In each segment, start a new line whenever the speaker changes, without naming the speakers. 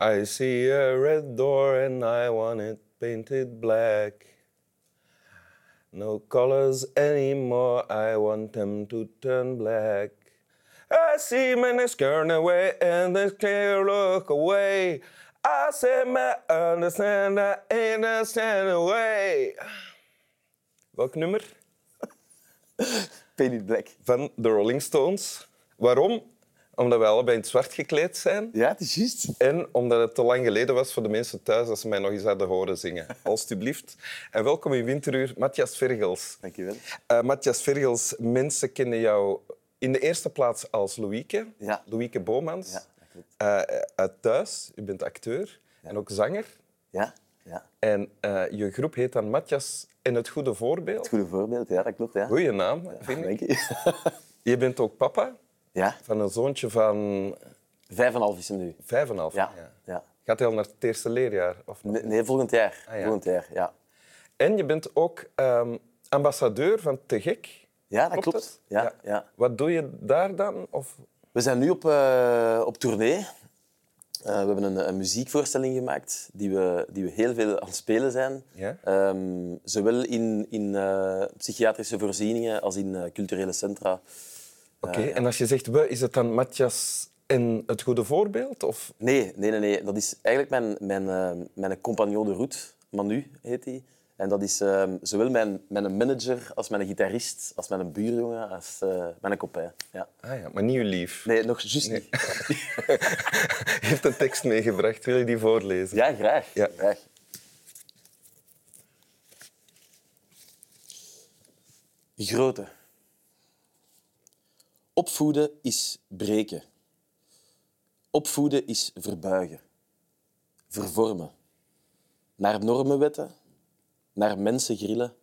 I see a red door and I want it painted black. No colors anymore, I want them to turn black. I see men is turn away and they clear look away. I say, me understand, I understand away. Welk nummer?
Painted Black.
Van de Rolling Stones. Waarom? Omdat we allebei in het zwart gekleed zijn.
Ja, het is juist.
En omdat het te lang geleden was voor de mensen thuis dat ze mij nog eens hadden horen zingen. Alsjeblieft. En welkom in Winteruur, Matthias Vergels.
Dankjewel.
Eh, Matthias Vergels, mensen kennen jou in de eerste plaats als Louieke.
Ja.
Louieke Bomans.
Ja, dat klopt.
Eh, uit thuis. Je bent acteur en ook zanger.
Ja, ja.
En eh, je groep heet dan Matthias en het Goede Voorbeeld.
Goede voorbeeld, ja, dat klopt. Ja.
Goeie naam, vind ik.
Dank je.
Je bent ook papa
Ja,
van een zoontje van
vijf en een half is hem nu.
vijf en een half
Ja,
jaar.
ja.
Gaat hij al naar het eerste leerjaar? Of
Nee, nee, volgend jaar.
ja.
Volgend jaar, Ah, ja.
En je bent ook ehm, ambassadeur van Te Gek.
Ja, dat
Klopt
klopt.
dat?
Ja,
Ja.
ja.
Wat doe je daar dan? Of...
We zijn nu op, eh, op tournee. Eh, we hebben een, een muziekvoorstelling gemaakt die we, die we heel veel aan het spelen zijn.
Ja.
Ehm, zowel in, in eh, psychiatrische voorzieningen als in eh, culturele centra.
Oké, en als je zegt we, is het dan Matthias en het goede voorbeeld? Of...
Nee, nee, nee, nee. Dat is eigenlijk mijn, mijn, eh, mijn compagnon de route. Manu heet hij. En dat is eh, zowel mijn, mijn manager als mijn gitarist, als mijn buurjongen, als eh, mijn kopijn. Ja.
Ah ja, maar niet uw lief.
Nee, nog juist niet.
Je hebt een tekst meegebracht, wil je die voorlezen?
Ja, graag.
Ja.
graag. Grote. Opvoeden is breken. Opvoeden is verbuigen. Vervormen. Naar normen wetten. Naar mensen grillen.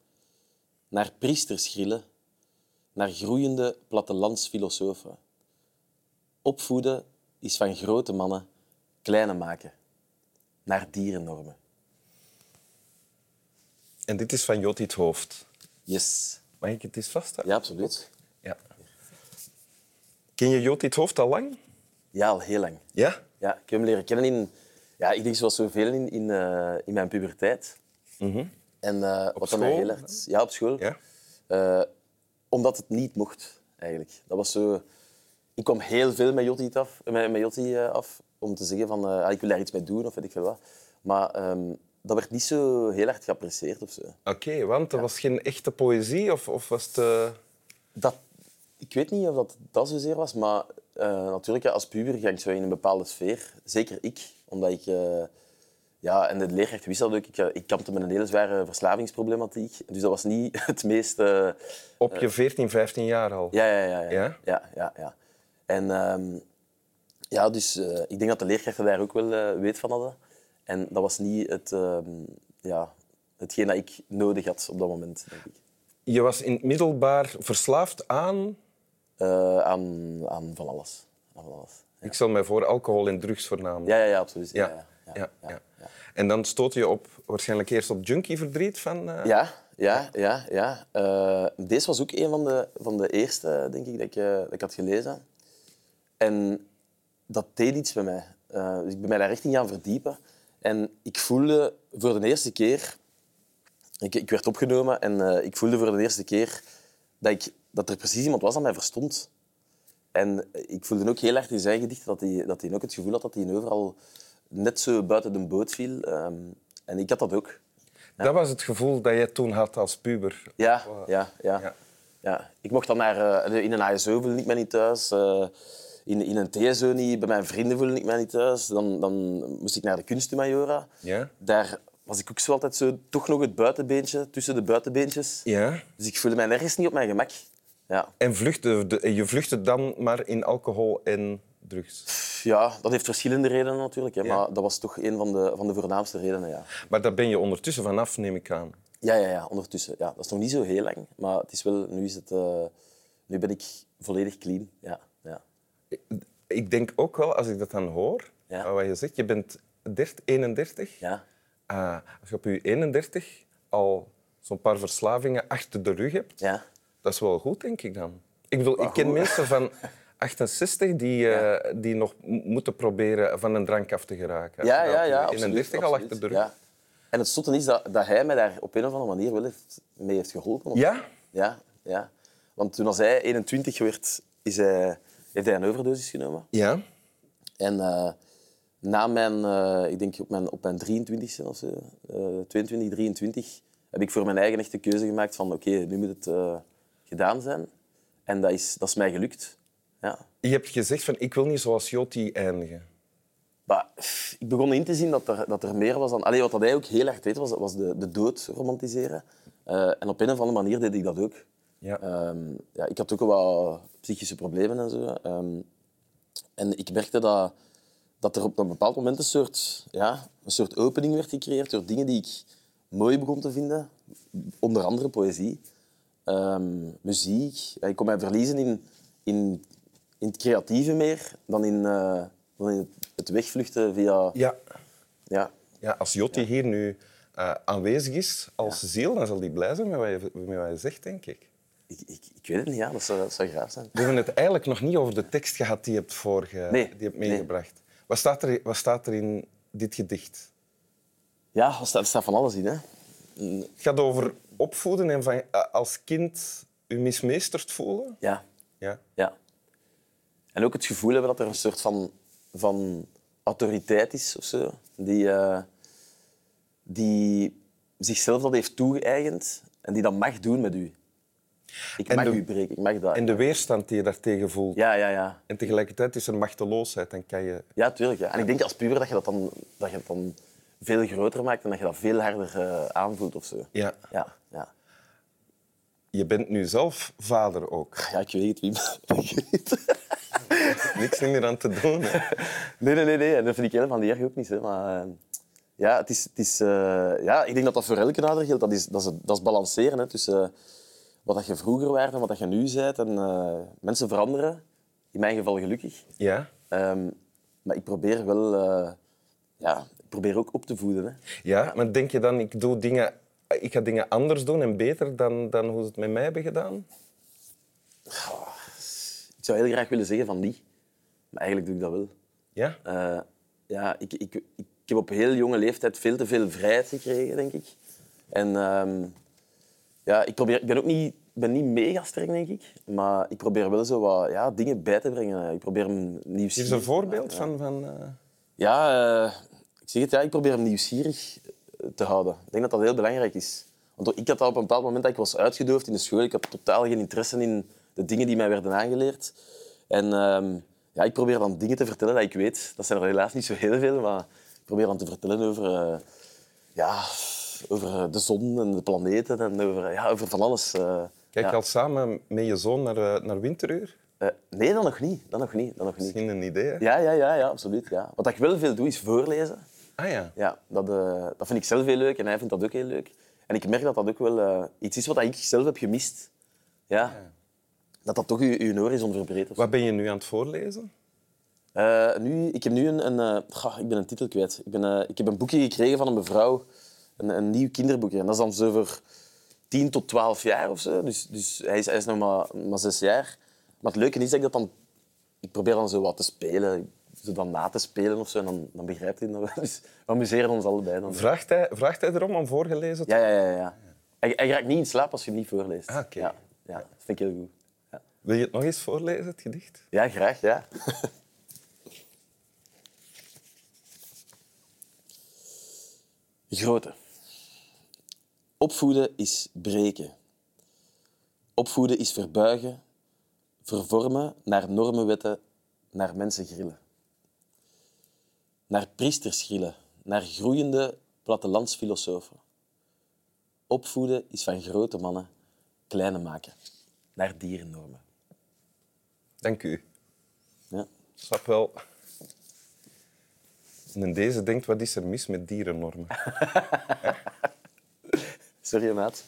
Naar priesters grillen. Naar groeiende plattelandsfilosofen. Opvoeden is van grote mannen kleine maken naar dierennormen.
En dit is van Jot het Hoofd.
Yes.
Mag ik het eens vasthouden?
Ja, absoluut.
Ja. Ken je Jot het Hoofd al lang?
Ja, al heel lang.
Ja?
Ja, ik heb hem leren kennen in... Ja, ik denk zoals zoveel in, in, eh, in mijn puberteit. En eh, wat dan mij
school?
heel hard... Ja, op school.
Ja.
Eh, omdat het niet mocht, eigenlijk. Dat was zo... Ik kwam heel veel met Jotti af, met, met Jotti, eh, af om te zeggen van... eh, ah, ik wil daar iets mee doen, of weet ik veel wat. Maar ehm, dat werd niet zo heel hard geapprecieerd of zo.
Oké, want er was geen echte poëzie of, of was het... eh,
Dat, ik weet niet of dat, dat zozeer was, maar eh, natuurlijk, ja, als puber ga ik zo in een bepaalde sfeer. Zeker ik, omdat ik... eh, ja, en de leerkracht wist dat ook. Ik, eh, ik kampte met een hele zware verslavingsproblematiek. Dus dat was niet het meest... eh,
Op je 14, 15 jaar al?
ja, ja, ja, ja.
Ja?
ja? ja, ja, En ehm, ja, dus eh, ik denk dat de leerkrachten daar ook wel eh, weet van hadden. En dat was niet het, ehm, ja, hetgeen dat ik nodig had op dat moment, denk ik.
Je was in het middelbaar verslaafd aan...
Eh, aan, aan van alles. Aan van alles.
Ik stel mij voor, alcohol en drugs voornamelijk.
Ja, ja, ja, absoluut. Ja, ja, ja.
ja, ja. En dan stootte je op, waarschijnlijk eerst op junkie-verdriet van... eh,
Ja, ja, ja. ja. Eh, deze was ook een van de, van de eerste, denk ik, dat ik, eh, dat ik had gelezen. En dat deed iets bij mij. Eh, dus ik ben mij daar echt in gaan verdiepen. En ik voelde voor de eerste keer... Ik, ik werd opgenomen en eh, ik voelde voor de eerste keer dat, ik, dat er precies iemand was dat mij verstond. En ik voelde ook heel hard in zijn gedicht dat hij, dat hij ook het gevoel had dat hij overal net zo buiten de boot viel. Ehm, en ik had dat ook.
Dat was het gevoel dat jij toen had als puber.
Ja, ja, ja.
eh, Ja.
ja. Ik mocht dan naar, eh, in een ASO voelde ik mij niet thuis. eh, in, in een TSO niet. Bij mijn vrienden voelde ik mij niet thuis. Dan, dan moest ik naar de kunstmajora.
Ja.
Daar was ik ook zo altijd zo, toch nog het buitenbeentje, tussen de buitenbeentjes.
Ja.
Dus ik voelde mij nergens niet op mijn gemak. Ja.
En vluchtte, de- je vluchtte dan maar in alcohol en drugs.
Pff, ja, dat heeft verschillende redenen natuurlijk. Hè, Maar dat was toch een van de, van de voornaamste redenen, ja.
Maar daar ben je ondertussen vanaf, neem ik aan.
Ja, ja, ja, ondertussen. Ja, dat is nog niet zo heel lang. Maar het is wel, nu, is het, eh, nu ben ik volledig clean. Ja, ja.
Ik denk ook wel, als ik dat dan hoor,
Ja.
wat je zegt, je bent 30, 31.
ja.
Ah, als je op je 31 al zo'n paar verslavingen achter de rug hebt,
ja.
dat is wel goed, denk ik dan. Ik bedoel, ik ken mensen van 68 die, eh, die nog m- moeten proberen van een drank af te geraken.
Ja, ja, ja.
In een 30 al achter de rug.
Ja. En het stotte is dat, dat hij mij daar op een of andere manier wel heeft, mee heeft geholpen.
Ja?
Ja, ja. Want toen als hij 21 werd, is hij, heeft hij een overdosis genomen.
Ja.
En eh, na mijn, eh, ik denk op mijn, op mijn 23e of zo, eh, 22, 23, heb ik voor mijn eigen echte keuze gemaakt van oké, nu moet het eh, gedaan zijn. En dat is, dat is mij gelukt. Ja.
Je hebt gezegd van ik wil niet zoals Joti eindigen.
Maar, pff, ik begon in te zien dat er, dat er meer was dan... Allee, wat dat hij ook heel erg deed, was, was de, de dood romantiseren. Eh, en op een of andere manier deed ik dat ook.
Ja.
Ehm, ja, ik had ook wel psychische problemen en zo. Ehm, en ik merkte dat, dat er op een bepaald moment een soort, ja, een soort opening werd gecreëerd door dingen die ik mooi begon te vinden. Onder andere poëzie, ehm, muziek. Ja, ik kon mij verliezen in, in, in het creatieve meer dan in, eh, dan in het, het wegvluchten via...
Ja.
Ja,
ja als Joti hier nu eh, aanwezig is als ziel, dan zal die blij zijn met wat, je, met wat je zegt, denk ik.
ik, ik, ik weet het niet, ja. dat, zou, dat zou graag zijn.
We hebben het eigenlijk nog niet over de tekst gehad die je hebt, voorge...
Nee,
die je hebt
nee.
meegebracht. Wat, staat er, wat staat er in dit gedicht?
Ja, er staat, er staat van alles in. Hè.
Het gaat over opvoeden en van, eh, als kind je mismeesterd voelen.
Ja,
Ja.
Ja. En ook het gevoel hebben dat er een soort van, van autoriteit is of zo, die, eh, die zichzelf dat heeft toegeëigend en die dat mag doen met u. Ik
En
mag
de-
u breken, ik mag dat.
En de weerstand die je daartegen voelt.
Ja, ja, ja.
En tegelijkertijd is er machteloosheid en kan je...
Ja, tuurlijk. Ja. En ik denk als puber dat je dat dan, dat je dat dan veel groter maakt en dat je dat veel harder eh, aanvoelt of zo.
Ja.
Ja, ja.
Je bent nu zelf vader ook.
ja, ik weet het, Wim. Ik weet het.
Niks meer aan te doen. hè.
Nee, nee, nee, nee. dat vind ik helemaal niet erg ook niet. Hè. Maar eh, ja, het is, het is, eh, ja, ik denk dat dat voor elke ouder geldt. Dat is, dat is, dat is balanceren hè, tussen eh, wat dat je vroeger werd en wat dat je nu bent. En, eh, mensen veranderen, in mijn geval gelukkig.
Ja.
Ehm, maar ik probeer wel... eh, ja, ik probeer ook op te voeden. Hè.
ja, maar denk je dan, ik, doe dingen, ik ga dingen anders doen en beter dan, dan hoe ze het met mij hebben gedaan?
Ik zou heel graag willen zeggen van niet. Maar eigenlijk doe ik dat wel.
Ja?
Eh, ja, ik, ik, ik heb op heel jonge leeftijd veel te veel vrijheid gekregen, denk ik. En ehm, ja, ik, probeer, ik ben ook niet, ik ben niet mega streng, denk ik. Maar ik probeer wel zo wat ja, dingen bij te brengen. Ik probeer hem
Geef
nieuwsgierig...
eens een voorbeeld van... van eh,
Ja, eh, ik zeg het, ja, ik probeer hem nieuwsgierig eh, te houden. Ik denk dat dat heel belangrijk is. Want ik had dat op een bepaald moment dat ik was uitgedoofd in de school. Ik had totaal geen interesse in de dingen die mij werden aangeleerd. En ehm, ja, ik probeer dan dingen te vertellen dat ik weet. Dat zijn er helaas niet zo heel veel, maar ik probeer dan te vertellen over, eh, ja, over eh, de zon en de planeten en over, eh, ja, over van alles. eh.
Kijk
Ja.
je al samen met je zoon naar, eh, naar Winteruur?
Eh, nee, dan nog niet. Dan nog niet. Dan nog niet.
Misschien een idee, hè?
Ja, ja, ja, ja, absoluut. Ja. Wat ik wel veel doe, is voorlezen.
Ah ja.
Ja, dat, eh, dat vind ik zelf heel leuk en hij vindt dat ook heel leuk. En ik merk dat dat ook wel eh, iets is wat ik zelf heb gemist. Ja. Dat dat toch uw, uw horizon verbreedt. of zo.
Wat ben je nu aan het voorlezen?
Eh, nu, ik heb nu een... een eh, goh, ik ben een titel kwijt. Ik, ben, eh, ik heb een boekje gekregen van een mevrouw. Een, een nieuw kinderboekje. En dat is dan zo voor 10 tot 12 jaar of zo. Dus, dus hij, is, hij is nog maar, maar 6 jaar. Maar het leuke is dat ik dat dan... Ik probeer dan zo wat te spelen. Zo dan na te spelen of zo. En dan, dan begrijpt hij dat wel. Dus we amuseren ons allebei dan.
Vraagt hij, vraagt hij erom om voorgelezen te
Ja, ja, ja. ja. Hij, hij raakt niet in slaap als je hem niet voorleest.
Ah, oké.
Ja, ja, dat vind ik heel goed. Ja,
Wil je het nog eens voorlezen, het gedicht?
ja graag, ja. Grote. Opvoeden is breken. Opvoeden is verbuigen, vervormen naar normenwetten, naar mensen grillen. Naar priesters grillen, naar groeiende plattelandsfilosofen. Opvoeden is van grote mannen kleine maken, naar dierennormen.
Dank u.
Ja.
Snap wel. En deze denkt, wat is er mis met dierennormen?
Sorry, maat.